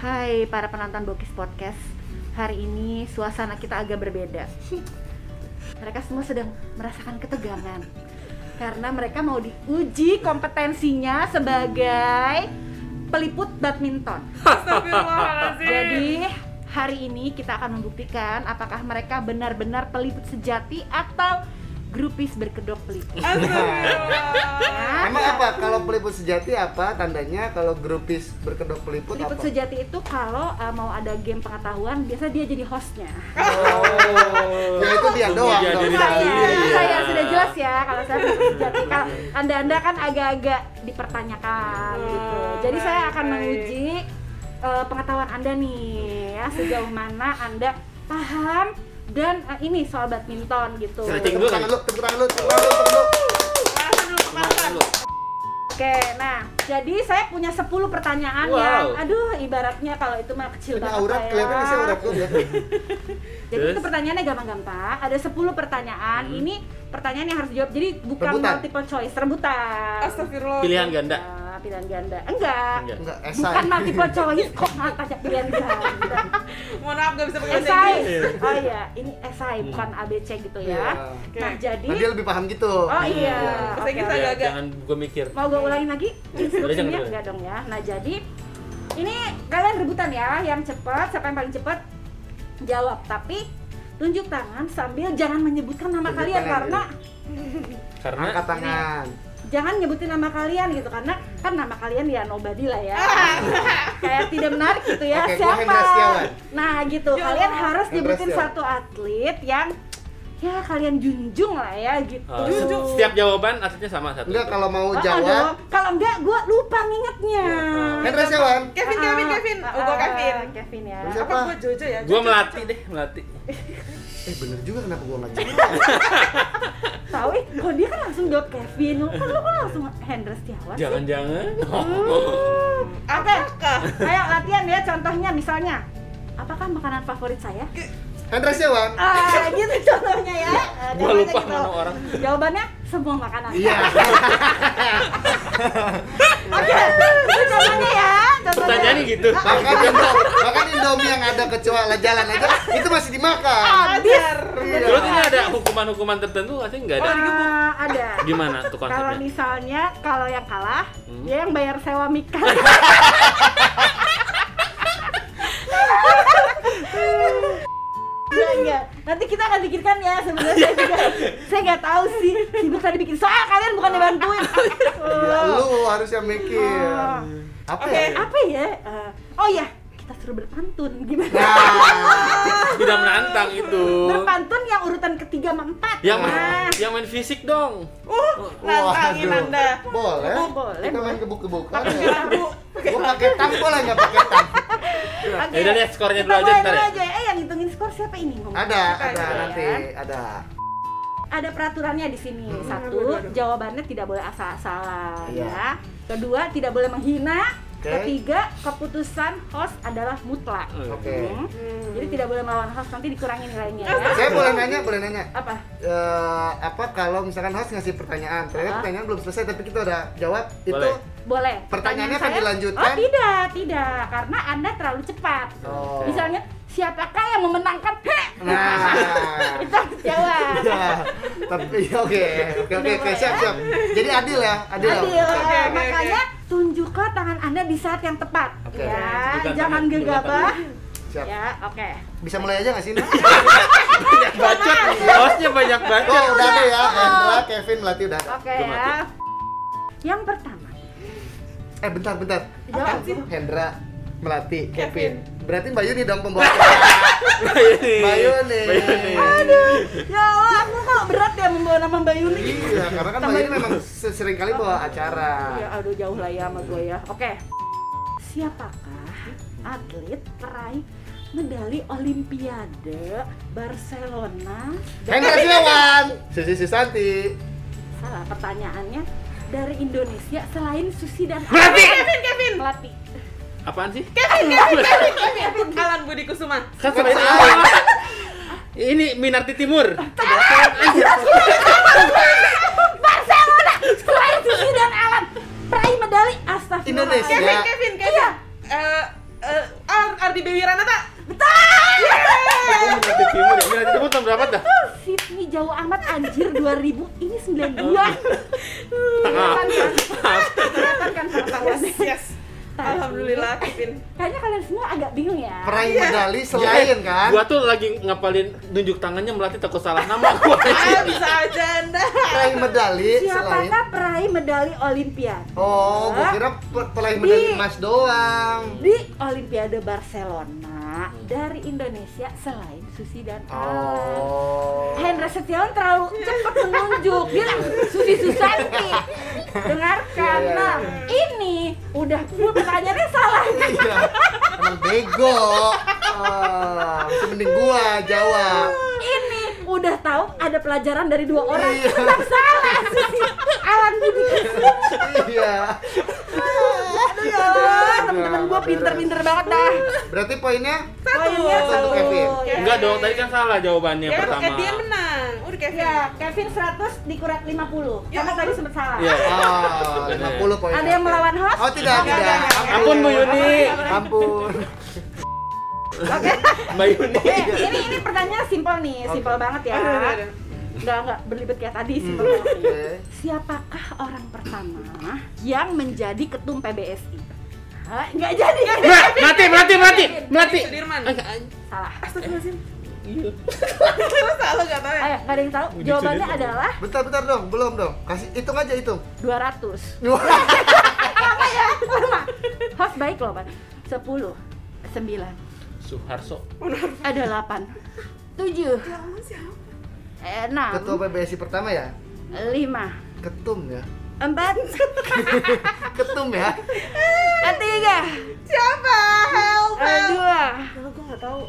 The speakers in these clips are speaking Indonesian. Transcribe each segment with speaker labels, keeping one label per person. Speaker 1: Hai para penonton Bokis Podcast. Hari ini suasana kita agak berbeda. Mereka semua sedang merasakan ketegangan karena mereka mau diuji kompetensinya sebagai peliput badminton.
Speaker 2: Astagfirullahaladzim.
Speaker 1: Jadi hari ini kita akan membuktikan apakah mereka benar-benar peliput sejati atau grupis berkedok peliput. Ya,
Speaker 2: Astagfirullah.
Speaker 3: Emang apa? Kalau peliput sejati apa tandanya? Kalau grupis berkedok peliput,
Speaker 1: Peliput
Speaker 3: apa?
Speaker 1: sejati itu kalau uh, mau ada game pengetahuan, biasa dia jadi hostnya.
Speaker 3: Oh, ya itu dia
Speaker 4: Tunggu
Speaker 2: Iya,
Speaker 3: doang
Speaker 4: dia
Speaker 3: dong.
Speaker 4: diri
Speaker 1: saya,
Speaker 4: sendiri, ya.
Speaker 1: saya sudah jelas ya kalau saya belum sejati kalau anda anda kan agak-agak dipertanyakan gitu
Speaker 2: Oh,
Speaker 1: jadi saya
Speaker 2: baik,
Speaker 1: akan
Speaker 2: baik.
Speaker 1: menguji eh, pengetahuan anda nih ya sejauh mana anda paham dan eh, ini soal badminton gitu
Speaker 4: Stretching
Speaker 3: Tepuk tangan lu, tepuk tangan lu, tepuk tangan lu, tepuk tangan lu.
Speaker 2: Tahan dulu, kepanasan.
Speaker 1: oke nah jadi saya punya 10 pertanyaan
Speaker 4: Wow.
Speaker 1: yang aduh ibaratnya kalau itu mah kecil
Speaker 3: Ini
Speaker 1: banget
Speaker 3: aurat,
Speaker 1: saya.
Speaker 3: kelihatan sih aurat lu ya.
Speaker 1: Jadi itu
Speaker 4: Terus?
Speaker 1: pertanyaannya gampang-gampang. Ada 10 pertanyaan. Ini pertanyaan yang harus dijawab. Jadi bukan
Speaker 3: Rebutan.
Speaker 1: multiple choice, rebutan.
Speaker 2: Astagfirullah.
Speaker 4: Pilihan ganda.
Speaker 1: Ah, pilihan ganda. Enggak.
Speaker 4: Enggak.
Speaker 3: Enggak, esai.
Speaker 1: Bukan multiple choice kok nggak tanya pilihan ganda.
Speaker 2: Mohon maaf gak bisa pakai bahasa
Speaker 1: esai.
Speaker 2: Inggris.
Speaker 1: Oh iya, ini
Speaker 4: Hmm.
Speaker 1: esai bukan ABC gitu ya.
Speaker 3: Iya.
Speaker 1: Nah,
Speaker 2: Oke.
Speaker 1: jadi
Speaker 3: Nah, dia lebih paham gitu.
Speaker 1: Oh iya.
Speaker 2: Bahasa
Speaker 1: Oke,
Speaker 2: Inggris
Speaker 1: oke.
Speaker 2: agak-
Speaker 4: Ya,
Speaker 2: agak.
Speaker 4: jangan gue mikir.
Speaker 1: Mau gue ulangin lagi? Instruksinya
Speaker 4: boleh.
Speaker 1: enggak dong ya. Nah, jadi ini kalian rebutan ya, yang cepat siapa yang paling cepat jawab. Tapi tunjuk tangan sambil jangan menyebutkan nama
Speaker 3: Tunjuk
Speaker 1: kalian
Speaker 3: tangan,
Speaker 1: karena
Speaker 4: Karena
Speaker 3: Angkat tangan.
Speaker 1: jangan nyebutin nama kalian gitu karena kan nama kalian ya nobody lah ya kayak tidak menarik gitu ya
Speaker 3: Oke, gua
Speaker 1: siapa
Speaker 3: Hendra Setiawan.
Speaker 1: nah gitu
Speaker 2: Ya.
Speaker 1: kalian harus
Speaker 3: Hendra
Speaker 1: nyebutin
Speaker 3: Setiawan.
Speaker 1: satu atlet yang ya kalian junjung lah ya gitu
Speaker 2: Ah.
Speaker 4: eh, setiap jawaban aslinya sama satu.
Speaker 3: Enggak kalau mau
Speaker 1: Oh,
Speaker 3: jawab.
Speaker 1: aduh, kalau enggak gue lupa ngingetnya
Speaker 3: Ya, ah. Hendra Setiawan.
Speaker 2: Kevin, Kevin, Kevin.
Speaker 1: Ah,
Speaker 2: Oh, gua Kevin.
Speaker 1: Kevin ya
Speaker 3: Terus
Speaker 2: Apa
Speaker 3: Siapa?
Speaker 2: gua Jojo ya?
Speaker 4: Gue
Speaker 2: Jojo.
Speaker 4: melatih deh, melatih.
Speaker 3: Eh bener juga kenapa gua enggak jawab.
Speaker 1: tahu eh kok dia kan langsung jawab Kevin lu kan lu kan langsung Hendra Setiawan sih?
Speaker 4: Jangan-jangan. Oh.
Speaker 1: Hmm. Oke,
Speaker 2: Apakah?
Speaker 1: ayo latihan ya contohnya misalnya apakah makanan favorit saya?
Speaker 3: Hendra Setiawan.
Speaker 1: Ah, gitu contohnya ya. Eh,
Speaker 4: Iya. Gua
Speaker 1: jawabannya
Speaker 4: lupa
Speaker 1: gitu.
Speaker 4: nama orang.
Speaker 1: Jawabannya semua makanan.
Speaker 3: Iya.
Speaker 1: Oke, itu contohnya ya. Contohnya.
Speaker 4: Pertanyaannya gitu.
Speaker 3: Makan Indo- makan Indomie yang ada kecoa lah jalan aja itu masih dimakan.
Speaker 1: Habis.
Speaker 3: Iya.
Speaker 4: Terus ini ada hukuman-hukuman tertentu nggak sih? Nggak ada.
Speaker 1: Ah, ada.
Speaker 4: Gimana tuh
Speaker 1: Kalau
Speaker 4: konsepnya?
Speaker 1: misalnya kalau yang kalah,
Speaker 4: Hmm.
Speaker 1: dia yang bayar sewa mikan. Enggak, enggak. Iya, Nanti kita akan pikirkan ya sebenarnya saya juga saya nggak tahu sih sibuk tadi bikin soal kalian bukan dibantuin.
Speaker 3: Iya, lu harusnya mikir.
Speaker 1: Oh.
Speaker 3: Apa
Speaker 2: Oke.
Speaker 4: Iya.
Speaker 3: ya?
Speaker 1: apa ya Eh, oh ya kita suruh berpantun
Speaker 4: Ya
Speaker 1: gimana
Speaker 3: Nah,
Speaker 4: Tidak menantang itu.
Speaker 1: berpantun yang urutan ketiga sama empat
Speaker 4: Yang main,
Speaker 1: Nah,
Speaker 4: yang main fisik dong.
Speaker 2: Uh, nantangin
Speaker 3: waduh.
Speaker 2: Anda.
Speaker 3: Boleh.
Speaker 1: Oh, boleh,
Speaker 3: Kita
Speaker 1: boleh.
Speaker 3: main gebuk-gebukan.
Speaker 2: Pakai
Speaker 3: ya.
Speaker 2: lagu.
Speaker 3: Gua pakai tang boleh nggak pakai tang?
Speaker 1: oke.
Speaker 4: Ya udah deh, skornya
Speaker 1: kita
Speaker 4: dulu aja
Speaker 1: mulai
Speaker 4: ntar ya.
Speaker 1: aja eh yang hitungin skor siapa ini Ngomong.
Speaker 3: Ada, ada
Speaker 2: Ada,
Speaker 3: nanti, ada.
Speaker 1: ada peraturannya di sini
Speaker 4: Hmm.
Speaker 1: satu
Speaker 2: aduh, aduh.
Speaker 1: jawabannya tidak boleh asal-asalan
Speaker 3: Iya.
Speaker 1: ya kedua tidak boleh menghina
Speaker 3: Oke.
Speaker 1: ketiga keputusan host adalah mutlak
Speaker 3: Oke.
Speaker 1: Hmm. jadi tidak boleh melawan host nanti dikurangi nilainya ya.
Speaker 3: Saya boleh nanya, boleh nanya.
Speaker 1: apa
Speaker 3: Eh, apa kalau misalkan host ngasih pertanyaan, ternyata
Speaker 1: Ah.
Speaker 3: pertanyaan belum selesai tapi kita udah jawab itu
Speaker 4: Boleh.
Speaker 1: boleh
Speaker 3: Pertanyaannya
Speaker 1: Pertanyaan
Speaker 3: akan
Speaker 1: saya-
Speaker 3: dilanjutkan?
Speaker 1: oh tidak tidak karena anda terlalu cepat
Speaker 3: Oh.
Speaker 1: misalnya siapakah yang memenangkan Heh!
Speaker 3: Nah,
Speaker 1: itu harus jawab
Speaker 3: ya, tapi ya, oke, oke, oke, oke,
Speaker 1: Boleh,
Speaker 3: siap,
Speaker 1: ya?
Speaker 3: siap. Jadi adil ya, adil.
Speaker 1: Adil,
Speaker 3: Oke.
Speaker 1: eh,
Speaker 2: oke.
Speaker 1: makanya tunjuklah tangan anda di saat yang tepat
Speaker 3: Oke.
Speaker 1: ya
Speaker 4: Tunjukkan
Speaker 1: jangan
Speaker 4: tangan,
Speaker 1: gegabah
Speaker 3: Siap.
Speaker 1: ya oke
Speaker 3: Bisa mulai aja nggak sih? Nak?
Speaker 4: Bacot, hostnya banyak bacot.
Speaker 3: Oh, udah ada ya, Hendra, Kevin, Melati udah. ada.
Speaker 1: oke
Speaker 4: Gua
Speaker 1: ya
Speaker 4: mati.
Speaker 1: yang pertama
Speaker 3: Eh, bentar, bentar.
Speaker 1: Jawab.
Speaker 3: Hendra, Melati,
Speaker 2: Kevin.
Speaker 3: Kevin. Berarti Mbak Yuni dong pembawa. Mbak Yuni.
Speaker 4: Mbak Yuni.
Speaker 1: aduh ya Allah aku kok berat ya membawa nama Mbak Yuni
Speaker 3: Iya, karena kan Mbak Yuni memang se- sering kali bawa acara.
Speaker 1: ya aduh jauh lah ya sama gue ya oke siapakah atlet peraih medali Olimpiade Barcelona
Speaker 3: Hendra Setiawan, Susi Susanti.
Speaker 1: salah pertanyaannya dari Indonesia selain Susi dan
Speaker 4: Melati!
Speaker 2: Kevin, Kevin.
Speaker 1: Melati
Speaker 4: Apaan sih?
Speaker 2: Kevin, Kevin, Kevin, Kevin. Alan Budi Kusuma.
Speaker 4: Kan sama ini. Ini Minarti Timur.
Speaker 1: Barcelona selain Susi dan Alan peraih medali Astagfirullah
Speaker 3: Indonesia.
Speaker 2: Kevin, Kevin, Kevin.
Speaker 1: Iya.
Speaker 2: Eh, eh, Alan,
Speaker 1: anjir 2000 ini 92 kelihatan kan kelihatan kan
Speaker 2: Yes,
Speaker 1: pertarungannya
Speaker 2: yes.
Speaker 1: Tapi-
Speaker 2: Alhamdulillah, Kevin.
Speaker 1: kayaknya kalian semua agak bingung ya
Speaker 3: Peraih medali
Speaker 4: Iya.
Speaker 3: selain kan?
Speaker 4: Eh, Gua tuh lagi ngapalin nunjuk tangannya melatih takut salah nama gua.
Speaker 2: Ah, bisa aja anda.
Speaker 3: Peraih medali selain
Speaker 1: siapakah peraih medali olimpiade
Speaker 3: Oh, gua kira pe- peraih medali
Speaker 1: Di-
Speaker 3: emas doang.
Speaker 1: di Olimpiade Barcelona dari Indonesia selain Susi dan Alan.
Speaker 3: Oh.
Speaker 1: Hendra Setiawan terlalu cepat menunjuk dia Susi Susanti dengarkan
Speaker 3: Iya, iya,
Speaker 1: Nah, ini udah full pertanyaannya salah
Speaker 3: Iya. Emang bego. Ah, itu mending gua jawab.
Speaker 1: ini udah tahu ada pelajaran dari dua orang
Speaker 3: Iya.
Speaker 1: tetap salah Susi Alan Budi Kusuma.
Speaker 3: Iya.
Speaker 1: aduh ya Allah temen-temen gue
Speaker 3: Nggak
Speaker 1: pinter-pinter banget dah
Speaker 3: Berarti poinnya
Speaker 1: poinnya
Speaker 3: Satu,
Speaker 1: Oh, iya, satu
Speaker 3: Kevin.
Speaker 1: Ya.
Speaker 4: Enggak dong, tadi kan salah jawabannya
Speaker 2: Ya,
Speaker 4: pertama.
Speaker 2: eh, dia menang. Udah Kevin.
Speaker 1: Ya, Kevin 100 dikurang 50.
Speaker 2: Ya.
Speaker 1: Karena tadi sempat salah.
Speaker 4: Iya.
Speaker 3: ah, 50 poin.
Speaker 1: Ada yang melawan host?
Speaker 3: Oh, tidak,
Speaker 2: Enggak,
Speaker 3: tidak.
Speaker 2: enggak, enggak.
Speaker 4: Ampun Bu Yuni,
Speaker 3: Ampun.
Speaker 4: Mbak Yuni.
Speaker 1: Eh, ini ini pertanyaan simpel nih,
Speaker 3: Oke.
Speaker 1: simpel banget ya.
Speaker 2: Aduh, aduh, aduh.
Speaker 1: Enggak enggak berlibet kayak tadi, simpel
Speaker 3: Hmm,
Speaker 1: banget.
Speaker 3: oke.
Speaker 1: Siapakah orang pertama yang menjadi ketum PBSI? Hah, Enggak jadi.
Speaker 4: Nah, mati, mati, mati, mati.
Speaker 2: Sudirman.
Speaker 1: Salah.
Speaker 2: Astagfirullahaladzim. Masa lo gak tau ya?
Speaker 1: Ayo, enggak ada yang tahu.
Speaker 4: Wujud
Speaker 1: Jawabannya
Speaker 4: sudut.
Speaker 1: adalah
Speaker 3: Bentar, bentar dong. Belum dong. Kasih hitung aja hitung.
Speaker 1: 200.
Speaker 3: Wah,
Speaker 1: Apa ya? Lama. Host baik loh, Pak. 10, 9,
Speaker 4: Suharso.
Speaker 1: ada 8, 7, eh, 6,
Speaker 3: Ketua PBSI pertama ya?
Speaker 1: 5,
Speaker 3: Ketum ya?
Speaker 1: empat
Speaker 3: Ketum ya?
Speaker 1: eh, tiga
Speaker 2: Siapa? Help,
Speaker 1: eh,
Speaker 2: help.
Speaker 1: dua
Speaker 2: Kalau gue gak tau.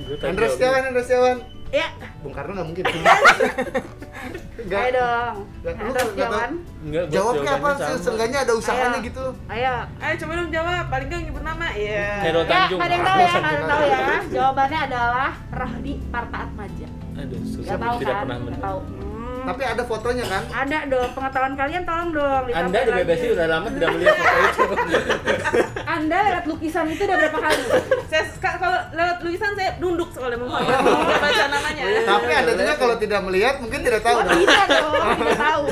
Speaker 4: Gua tadi
Speaker 3: Hendra
Speaker 4: jawab.
Speaker 3: Setiawan, Hendra Setiawan.
Speaker 1: ya
Speaker 3: Bung Karno nggak mungkin. Nggak.
Speaker 1: ayo dong
Speaker 3: Nggak, lu
Speaker 1: terus
Speaker 3: nggak tahu.
Speaker 1: jawaban
Speaker 4: Enggak, gua
Speaker 3: Jawabnya apa?
Speaker 4: jawabannya sama.
Speaker 3: Seenggaknya ada usahanya
Speaker 1: Ayo.
Speaker 3: gitu.
Speaker 1: ayo
Speaker 2: Ayo coba dong jawab, paling gak nyebut nama Iya
Speaker 4: Hero
Speaker 1: ya
Speaker 4: Tanjung.
Speaker 1: nggak ada yang tahu ya
Speaker 3: Tanjung.
Speaker 1: nggak ada yang tahu ya jawabannya adalah Rohdi Partaat Maja
Speaker 4: Aduh, susah
Speaker 1: nggak tahu
Speaker 4: tidak
Speaker 1: kan
Speaker 4: pernah
Speaker 1: nggak
Speaker 4: menang.
Speaker 1: tahu Hmm.
Speaker 3: Tapi ada fotonya kan?
Speaker 1: ada dong pengetahuan kalian tolong dong ditampilkan
Speaker 4: Anda di BBC
Speaker 1: lagi. Iya.
Speaker 4: udah lama tidak melihat foto itu.
Speaker 1: Anda lihat lukisan itu udah berapa kali
Speaker 2: Saya suka- kalau lewat lukisan saya nunduk soalnya mohon maaf. Nggak baca namanya. Iya,
Speaker 3: Tapi ada juga kalau tidak melihat mungkin tidak tahu.
Speaker 1: oh
Speaker 3: dong.
Speaker 1: tidak dong tidak tahu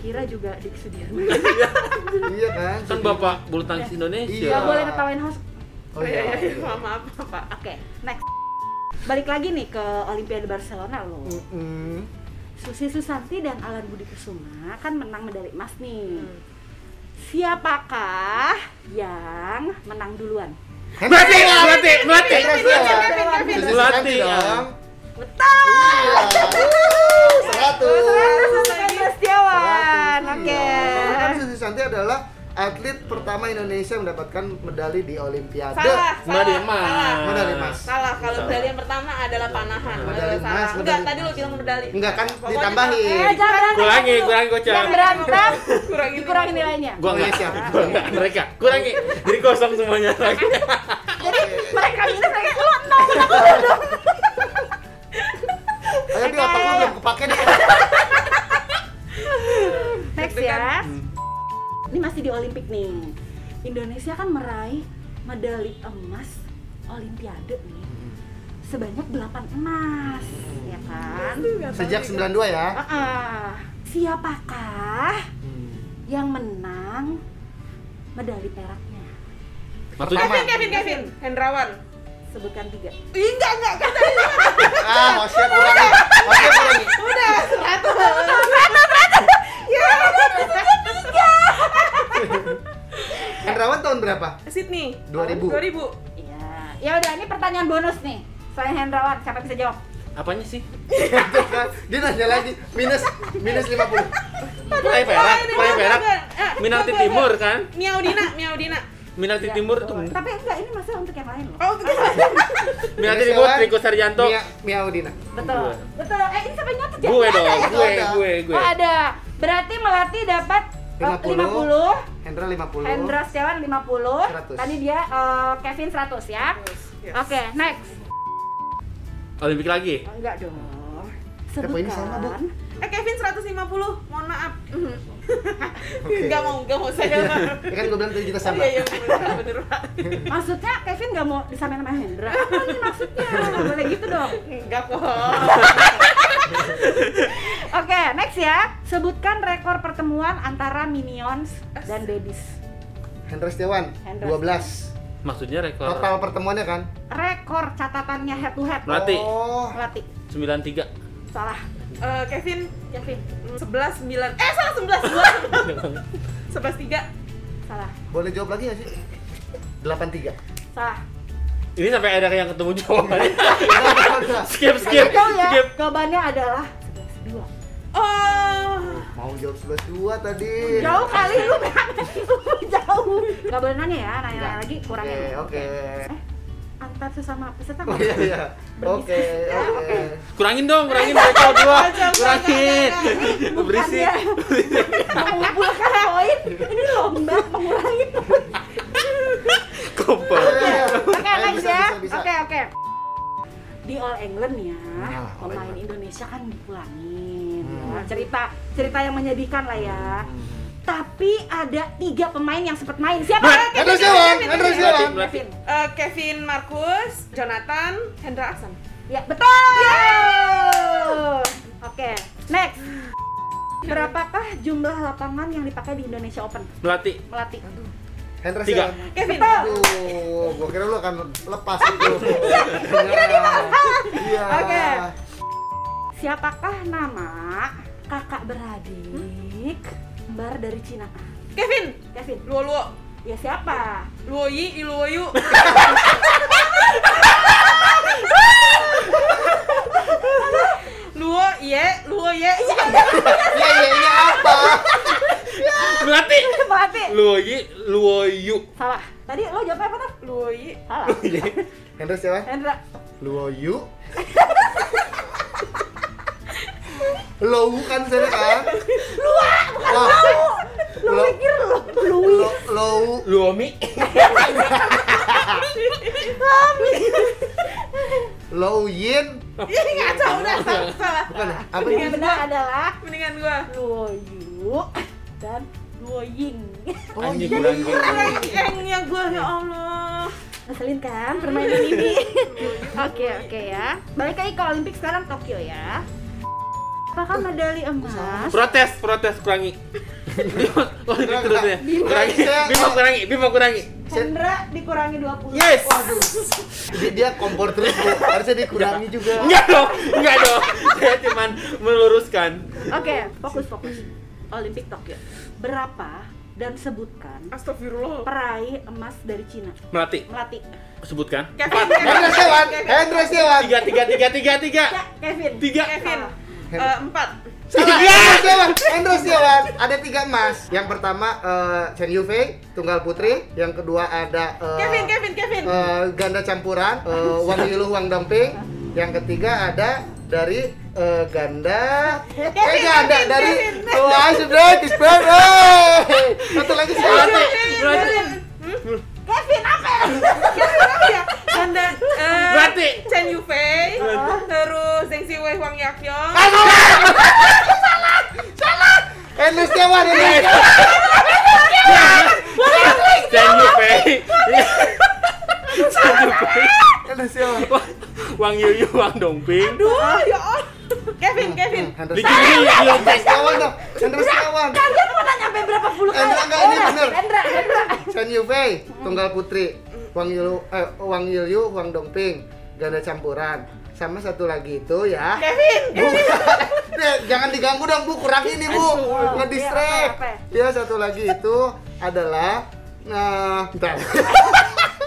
Speaker 1: kira juga di Sudirman
Speaker 3: Iya kan?
Speaker 4: Kan Bapak bulu tangkis Indonesia.
Speaker 3: Iya.
Speaker 1: nggak boleh ngetawain host
Speaker 3: Oh iya.
Speaker 2: iya, iya, maaf, maaf, Pak.
Speaker 1: Oke, next. Balik lagi nih ke Olimpiade Barcelona loh.
Speaker 3: Hmm. Mm-mm.
Speaker 1: Susi Susanti dan Alan Budi Kusuma kan menang medali emas nih.
Speaker 2: Hmm.
Speaker 1: Siapakah yang menang duluan?
Speaker 3: Hendra
Speaker 4: Melati,
Speaker 3: Setiawan.
Speaker 4: melati, melati.
Speaker 3: Hendra Setiawan.
Speaker 2: Kevin, Kevin,
Speaker 3: Hendra
Speaker 4: Kevin.
Speaker 3: Setiawan
Speaker 4: Melati,
Speaker 3: dong.
Speaker 1: Betul.
Speaker 3: Iya. Seratus.
Speaker 1: Terus Hendra Setiawan.
Speaker 3: Seratus,
Speaker 1: Oke.
Speaker 3: iya. Karena kan Susi Santi adalah atlet pertama Indonesia mendapatkan medali di Olimpiade.
Speaker 2: Salah,
Speaker 4: Medali
Speaker 2: salah,
Speaker 4: emas.
Speaker 2: salah.
Speaker 3: Medali emas.
Speaker 2: Salah, kalau
Speaker 4: Salah.
Speaker 2: medali yang pertama adalah panahan.
Speaker 3: Medali
Speaker 2: Kalau salah.
Speaker 3: emas,
Speaker 2: Enggak,
Speaker 3: medali
Speaker 2: tadi lo
Speaker 3: emas.
Speaker 2: bilang medali.
Speaker 3: Enggak kan
Speaker 2: Pokoknya
Speaker 3: ditambahin.
Speaker 1: Eh, jangan berantem.
Speaker 4: Kurangi,
Speaker 1: dulu.
Speaker 4: kurangi gua
Speaker 1: Jangan
Speaker 4: Cak.
Speaker 1: berantem.
Speaker 2: Kurangin
Speaker 1: Dikurangin nilainya.
Speaker 4: Gua enggak.
Speaker 3: Indonesia.
Speaker 4: Gua enggak. Mereka kurangi. Jadi kosong semuanya lagi.
Speaker 1: Jadi mereka minus mereka keluar
Speaker 3: Ayo di otak lu belum kepake nih. Hmm.
Speaker 1: Next ya. Ini masih di Olimpik nih. Indonesia kan meraih medali emas Olimpiade nih. Sebanyak 8 emas, ya kan?
Speaker 3: Sejak 92 ya.
Speaker 1: Ah, Siapakah
Speaker 3: Hmm.
Speaker 1: yang menang medali peraknya?
Speaker 4: Matu
Speaker 2: Kevin, Kevin, Kevin. Hendrawan.
Speaker 1: Sebutkan tiga.
Speaker 2: Ih, enggak, enggak, kan tadi
Speaker 3: Ah, hostnya kurang. Hostnya kurang.
Speaker 2: udah. Satu.
Speaker 3: Hendrawan tahun berapa?
Speaker 2: Sydney.
Speaker 3: 2000.
Speaker 2: 2000.
Speaker 1: Iya. Ya udah, ini pertanyaan bonus nih. Saya Hendrawan, siapa yang bisa jawab?
Speaker 4: Apanya sih?
Speaker 3: kan. Dia nanya lagi minus minus 50.
Speaker 4: Peraih ya,
Speaker 2: Oh,
Speaker 4: perak, peraih perak.
Speaker 2: Eh,
Speaker 4: Minarti Timur kan?
Speaker 2: Miaudina, Miaudina.
Speaker 4: Minarti
Speaker 1: Iya.
Speaker 4: Timur tuh.
Speaker 1: Tapi enggak, ini masalah untuk yang lain loh.
Speaker 2: Oh, betul.
Speaker 4: Minarti Timur Triko Sarjanto.
Speaker 3: Mia Miaudina.
Speaker 1: Betul.
Speaker 4: Gua.
Speaker 1: Betul. Eh, ini sampai nyatet ya?
Speaker 4: Gue
Speaker 1: Ada
Speaker 4: dong,
Speaker 1: ya?
Speaker 4: gue, gue, gue.
Speaker 1: Oh ada. Berarti Melati dapat eh, 50.
Speaker 3: 50. Hendra 50.
Speaker 1: Hendra Setiawan 50.
Speaker 3: 100.
Speaker 1: Tadi dia eh, Kevin 100 ya.
Speaker 2: Yes.
Speaker 1: Oke, next.
Speaker 4: Olimpik lagi.
Speaker 1: Oh, enggak dong.
Speaker 3: Tempo ini sama, Bu.
Speaker 1: Sebutkan
Speaker 2: Eh Kevin 150, mohon maaf.
Speaker 3: Oke.
Speaker 2: Enggak mau, enggak mau saya.
Speaker 4: Iya.
Speaker 3: Ya kan gue bilang tadi kita
Speaker 1: Oh,
Speaker 3: sama.
Speaker 2: Iya, iya, bener, bener, Pak.
Speaker 1: Maksudnya Kevin nggak mau disamain sama Hendra Apa nih maksudnya? Nggak boleh gitu dong
Speaker 2: Enggak kok.
Speaker 1: ya, sebutkan rekor pertemuan antara Minions dan Babies.
Speaker 3: Hendra Setiawan,
Speaker 1: Hendra
Speaker 3: 12
Speaker 4: Maksudnya rekor
Speaker 3: Total pertemuannya kan?
Speaker 1: Rekor catatannya head to head.
Speaker 4: Melati.
Speaker 3: Oh,
Speaker 1: Melati.
Speaker 4: 93.
Speaker 1: Salah.
Speaker 2: Eh, Kevin, Kevin, sebelas sembilan, eh salah sebelas dua, sebelas tiga,
Speaker 1: Salah.
Speaker 3: boleh jawab lagi nggak sih? 83
Speaker 1: Salah.
Speaker 4: Ini sampai ada yang ketemu jawabannya. skip, skip,
Speaker 1: Betul ya.
Speaker 4: skip.
Speaker 1: Jawabannya adalah 11
Speaker 2: oh,
Speaker 3: Mau jawab 11 2 tadi
Speaker 1: Jauh kali lu jauh. Gak boleh nanya ya, nanya lagi kurangnya.
Speaker 3: Oke, oke
Speaker 1: Antar sesama peserta.
Speaker 3: Oh iya, iya Oke,
Speaker 1: Ya,
Speaker 3: oke
Speaker 4: Kurangin dong, kurangin rekor dua. Kurangin. Berisik.
Speaker 1: Bukannya mengumpulkan ya. poin, ini lomba mengurangi poin.
Speaker 4: Kompor.
Speaker 3: Iya.
Speaker 1: Oke,
Speaker 3: Ayo,
Speaker 1: next
Speaker 3: bisa,
Speaker 1: ya.
Speaker 3: bisa, bisa.
Speaker 1: Oke, oke. Di All England ya,
Speaker 3: Nah, All
Speaker 1: pemain
Speaker 3: England.
Speaker 1: Indonesia kan dipulangin.
Speaker 3: Hmm.
Speaker 1: Ya, cerita cerita yang menyedihkan lah ya. Tapi ada tiga pemain yang sempat main. Siapa?
Speaker 4: Ber-
Speaker 1: Ayo,
Speaker 3: Hendra
Speaker 1: Kevin,
Speaker 3: Setiawan,
Speaker 1: Kevin,
Speaker 3: Hendra
Speaker 1: Kevin,
Speaker 3: Setiawan
Speaker 1: Kevin, Kevin.
Speaker 2: Eh, Kevin Markus, Jonathan, Hendra Aksan.
Speaker 1: Ya, betul. Oke, next. Berapakah jumlah lapangan yang dipakai di Indonesia Open?
Speaker 4: Melati.
Speaker 1: Melatih.
Speaker 3: Hendra
Speaker 4: Tiga.
Speaker 3: Setiawan
Speaker 2: Kevin,
Speaker 3: Aduh, gua kira lu akan lepas itu Kira Iya
Speaker 1: Oke. Siapakah nama kakak beradik kembar dari Cina?
Speaker 2: Kevin,
Speaker 1: Kevin.
Speaker 2: Luo Luo,
Speaker 1: Ya siapa?
Speaker 2: Luo Yi, Iluo Yu, Luo Ye, Luo Ye,
Speaker 3: Iya, iya, iya apa?
Speaker 4: Melati.
Speaker 1: Melati.
Speaker 4: Luoyi, Luoyu.
Speaker 1: Salah. Tadi lo jawabnya apa tuh?
Speaker 2: Luo Yi,
Speaker 1: Salah.
Speaker 3: Hendra Setiawan
Speaker 1: Hendra.
Speaker 3: Luoyu Low kan saya kan? Lua, bukan
Speaker 1: Lo
Speaker 3: Lo-
Speaker 1: pikir lo Louis.
Speaker 3: Low Low
Speaker 4: Luomi.
Speaker 3: Low Yin
Speaker 2: ini ngaco udah salah, salah.
Speaker 3: Bukan ya? Apa
Speaker 1: Yang
Speaker 3: itu?
Speaker 1: benar adalah
Speaker 2: Mendingan gua.
Speaker 1: Luoyu dan Luoying. Oh,
Speaker 4: Anjing
Speaker 3: iya.
Speaker 4: kurang
Speaker 2: Yang yang yang gua ya Allah.
Speaker 1: Ngeselin kan permainan ini? Oke oke ya. Balik lagi ke Olimpik sekarang Tokyo ya. Apakah medali emas?
Speaker 4: Protes, protes kurangi. Bimo, oh, ini terusnya. Kurangi. Bimo kurangi, Bimo kurangi.
Speaker 1: Hendra dikurangi 20.
Speaker 4: Yes.
Speaker 3: Dia- Dia kompor terus Bu. Harusnya dikurangi juga
Speaker 4: Enggak dong, enggak dong. Saya cuman meluruskan.
Speaker 1: Oke, fokus fokus. Olimpik Tokyo. Berapa dan sebutkan
Speaker 2: Astagfirullah.
Speaker 1: peraih emas dari Cina?
Speaker 4: Melati,
Speaker 1: Melati.
Speaker 4: sebutkan.
Speaker 2: Kevin,
Speaker 3: Hendra
Speaker 2: Kevin,
Speaker 3: Setiawan
Speaker 2: Kevin,
Speaker 3: Hendra Setiawan
Speaker 4: Tiga, tiga, tiga, tiga, tiga.
Speaker 1: Ya, Kevin.
Speaker 4: Tiga.
Speaker 2: Kevin.
Speaker 1: Salah.
Speaker 2: Eh, empat.
Speaker 3: Salah, Hendra Setiawan Hendra Setiawan Ada tiga emas Yang pertama eh, Chen Yufei Tunggal Putri Yang kedua ada eh,
Speaker 2: Kevin, Kevin, Kevin.
Speaker 3: eh, Ganda campuran eh, Wang Yilu Wang Dongping Yang ketiga ada dari eh, ganda eh ganda dari Oh, Wah sudah disband satu lagi siapa?
Speaker 4: Melati, melati,
Speaker 1: Kevin apa? ya?
Speaker 2: Ganda eh,
Speaker 4: melati.
Speaker 2: Chen Yufei, terus Zheng Siwei Huang Yakyong.
Speaker 3: Ernest Setiawan Ernest
Speaker 4: Stand you pay. Stand you pay.
Speaker 3: Ernest Setiawan
Speaker 4: Wang Yuyu, Wang Dongping.
Speaker 2: Duh,
Speaker 1: Oh.
Speaker 2: ya Allah. Kevin, Kevin.
Speaker 3: Hendra
Speaker 4: Dijunjung, dijunjung.
Speaker 3: Setiawan dong Hendra Setiawan
Speaker 1: Kalian pernah nyampe berapa puluh kali?
Speaker 3: Hendra, enggak, ini bener.
Speaker 1: Hendra, Hendra.
Speaker 3: Chen Yufei Tunggal Putri Wang Yilu eh, Wang Yilu Wang Dongping ganda campuran sama satu lagi itu ya
Speaker 2: Kevin.
Speaker 3: Bu, Nih, jangan diganggu dong Bu, kurang ini Bu. Ngedistract.
Speaker 1: Iya, apa,
Speaker 3: Ya satu lagi itu adalah nah, bentar.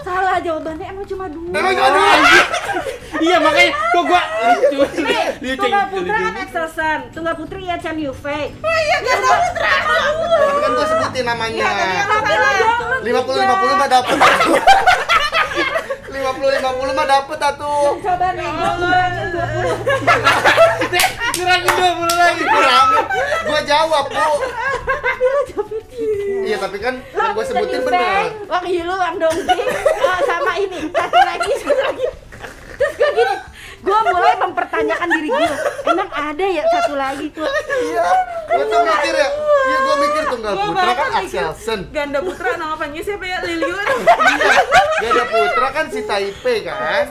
Speaker 1: Salah jawabannya emang cuma dua.
Speaker 3: Emang cuma dua?
Speaker 4: Iya makanya kok gua lucu.
Speaker 1: Nih,
Speaker 4: Lucu.
Speaker 1: Tunggal
Speaker 2: gitu
Speaker 1: Putra kan Excelsen, Tunggal Putri ya Chan Yufei.
Speaker 2: Oh iya,
Speaker 3: Tapi kan gua sebutin
Speaker 1: Iya,
Speaker 3: namanya.
Speaker 1: Tapi lo jawab
Speaker 3: 50 50 mah dapet. 50 50 mah dapet atuh.
Speaker 1: Coba
Speaker 3: Eh.
Speaker 2: Ya
Speaker 1: nih, gua kurangin 20.
Speaker 4: Kurangin 20 lagi.
Speaker 3: Kurangin. Gua jawab, Bu.
Speaker 1: Tapi lo jawabnya tiga.
Speaker 3: Iya, tapi kan yang gua
Speaker 1: Chen
Speaker 3: sebutin
Speaker 1: Yufei,
Speaker 3: bener.
Speaker 1: Wang Yilu, Wang Dongping, eh, sama ini. Satu lagi, satu lagi. Terus gue gini, gue mulai mempertanyakan diri gue. Emang ada ya satu lagi tuh?
Speaker 3: Iya. Gua tuh mikir ya. Iya, gua mikir tunggal
Speaker 2: Gua
Speaker 3: putra kan
Speaker 2: bahkan mikir,
Speaker 3: Axelsen.
Speaker 2: Ganda putra nama panggil siapa ya? Liliun.
Speaker 3: Ganda putra kan si Taipei kan.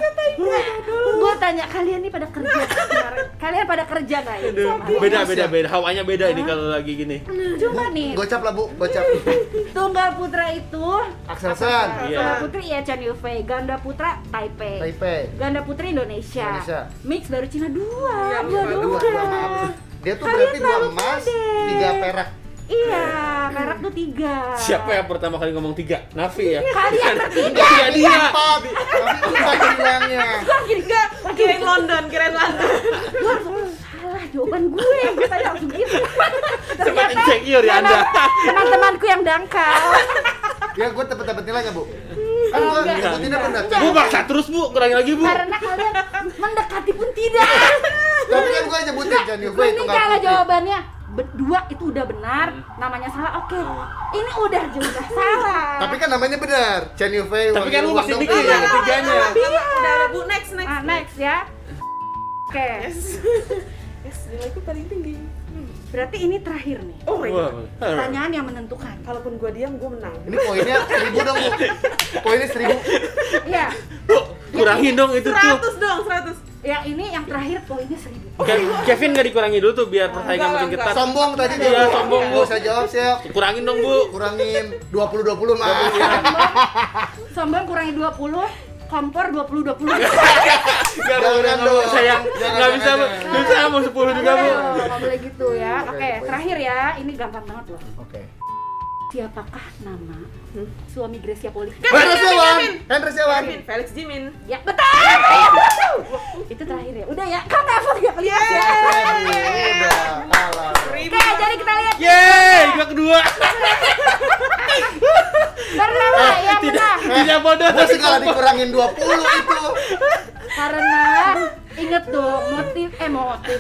Speaker 1: Gue tanya kalian nih pada kerja kemarin? kalian pada kerja nggak ya?
Speaker 4: Aduh, beda beda beda hawanya beda ini kalau lagi gini
Speaker 1: Cuma nih,
Speaker 3: Gocap lah bu, gocap.
Speaker 1: tunggal putra itu
Speaker 3: Akselsen,
Speaker 4: Iya.
Speaker 1: Tunggal putri ya Chan Yufei, ganda putra Taipei.
Speaker 3: Taipei.
Speaker 1: Ganda putra Indonesia.
Speaker 3: Indonesia.
Speaker 1: Mix baru Cina dua,
Speaker 2: Iya,
Speaker 1: dua
Speaker 2: dua,
Speaker 1: dua.
Speaker 3: Dua, dua maaf. Dia tuh
Speaker 1: Kalian
Speaker 3: berarti dua
Speaker 1: terlalu
Speaker 3: emas,
Speaker 1: pendek.
Speaker 3: tiga perak.
Speaker 1: Iya, perak tuh tiga.
Speaker 4: siapa yang pertama kali ngomong tiga Nafi ya
Speaker 1: Kalian
Speaker 4: tiga dia
Speaker 3: Empat. Tapi empat hilangnya.
Speaker 2: Enggak, kirain London, kirain London.
Speaker 1: Gue harus ngomong, salah jawaban gue. Gue tanya langsung gitu.
Speaker 4: Cepat
Speaker 3: Iya,
Speaker 4: insecure ya anda
Speaker 1: Teman-temanku yang dangkal.
Speaker 3: Ya gue tepet tepet nilainya bu. Kan gue
Speaker 1: enggak.
Speaker 3: nyebutinnya benar.
Speaker 4: bu paksa terus bu kurangin lagi bu
Speaker 1: Karena kalian mendekati pun tidak.
Speaker 3: Tapi kan gue nyebutin John Yufei
Speaker 1: Ini
Speaker 3: itu nggak
Speaker 1: kalau
Speaker 3: putih.
Speaker 1: jawabannya berdua itu udah benar, namanya salah oke. Ini udah juga salah.
Speaker 3: Tapi kan namanya benar. John Yufei.
Speaker 4: Tapi kan lu masih mikir.
Speaker 3: Iya.
Speaker 4: Iya. ketiganya.
Speaker 2: Lama, lama, lama. Udah, udah, Bu, next, next.
Speaker 1: Nah, next ya. Oke.
Speaker 2: Yes. Yes, nilaiku paling tinggi.
Speaker 1: Berarti ini terakhir nih.
Speaker 2: Oh
Speaker 3: ya.
Speaker 2: my
Speaker 4: Wah,
Speaker 2: god.
Speaker 1: Pertanyaan yang menentukan.
Speaker 2: Kalaupun gua diam, gua menang.
Speaker 3: Ini poinnya seribu dong bu. Poinnya seribu.
Speaker 1: Iya.
Speaker 4: Bu, kurangin dong itu tuh
Speaker 2: 100 dong, 100.
Speaker 1: Ya ini yang terakhir poinnya seribu.
Speaker 4: Ke- Kevin nggak dikurangi dulu tuh biar persaingan
Speaker 2: Enggak,
Speaker 4: makin
Speaker 2: enggak.
Speaker 4: ketat
Speaker 3: Sombong tadi
Speaker 4: Iya,
Speaker 3: dia.
Speaker 4: sombong, Bu.
Speaker 3: Gak usah jawab siap.
Speaker 4: kurangin dong bu
Speaker 3: Kurangin 20-20 mah.
Speaker 1: Sombong kurangi 20, kompor 20 20.
Speaker 4: Gak mau
Speaker 3: Jangan
Speaker 4: nggak mau
Speaker 3: dong.
Speaker 4: sayang
Speaker 3: Jangan,
Speaker 4: nggak bisa bu
Speaker 3: jangan,
Speaker 4: nggak bisa mau sepuluh juga bu
Speaker 1: Enggak boleh gitu ya.
Speaker 3: Oke,
Speaker 1: Oke,
Speaker 3: poin.
Speaker 1: terakhir ya. Ini gampang banget loh.
Speaker 3: Oke.
Speaker 1: Siapakah nama
Speaker 2: Hmm.
Speaker 1: suami Gracia Poli?
Speaker 3: Hendra Setiawan,
Speaker 2: Kevin.
Speaker 3: Hendra Setiawan.
Speaker 2: Jimin, Felix Jimin.
Speaker 1: Ya, betul. Betul. Itu terakhir ya. Udah ya. Kau telepon ya pelit ya.
Speaker 3: Aduh, udah kalah.
Speaker 1: Oke, jadi kita lihat
Speaker 4: yeay gua kedua
Speaker 3: Iya,
Speaker 1: bernama yang menang.
Speaker 4: Ah, tidak bodoh
Speaker 3: Masih kalah dikurangin 20 itu.
Speaker 1: karena inget tuh motif eh motif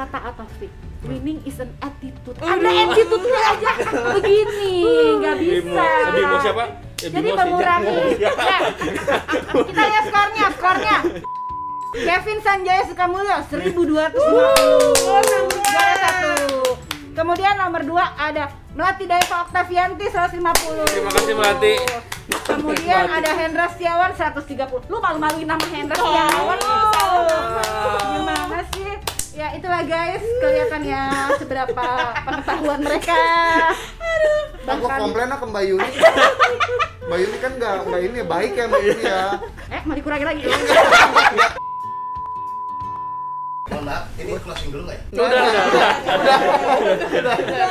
Speaker 1: kata Atofik winning is an attitude anda attitude nya aja begini nggak bisa
Speaker 4: Bimo siapa Ya,
Speaker 1: jadi
Speaker 4: Bimo sih,
Speaker 1: mengurangi
Speaker 4: Jack.
Speaker 1: ya. kita lihat skornya skornya Kevin Sanjaya Sukamulyo 1250 juara satu kemudian nomor 2 ada Melati Daiva Oktavianti 150
Speaker 4: Terima kasih, Melati.
Speaker 1: kemudian
Speaker 4: Melati. Oh.
Speaker 1: ada Hendra Setiawan 130 lu malu-maluin nama Hendra Setiawan lu bisa gimana sih ya itulah guys kelihatan ya seberapa pengetahuan mereka
Speaker 3: Nah, gua komplain lah ke Mbak Yuni. Mbak Yuni kan nggak nggak ini ya, baik ya Mbak Yuni ya.
Speaker 1: eh mau dikurangin lagi
Speaker 5: Mohon maaf, ini closing dulu nggak ya?
Speaker 4: Udah, udah, udah.
Speaker 3: Udah, udah,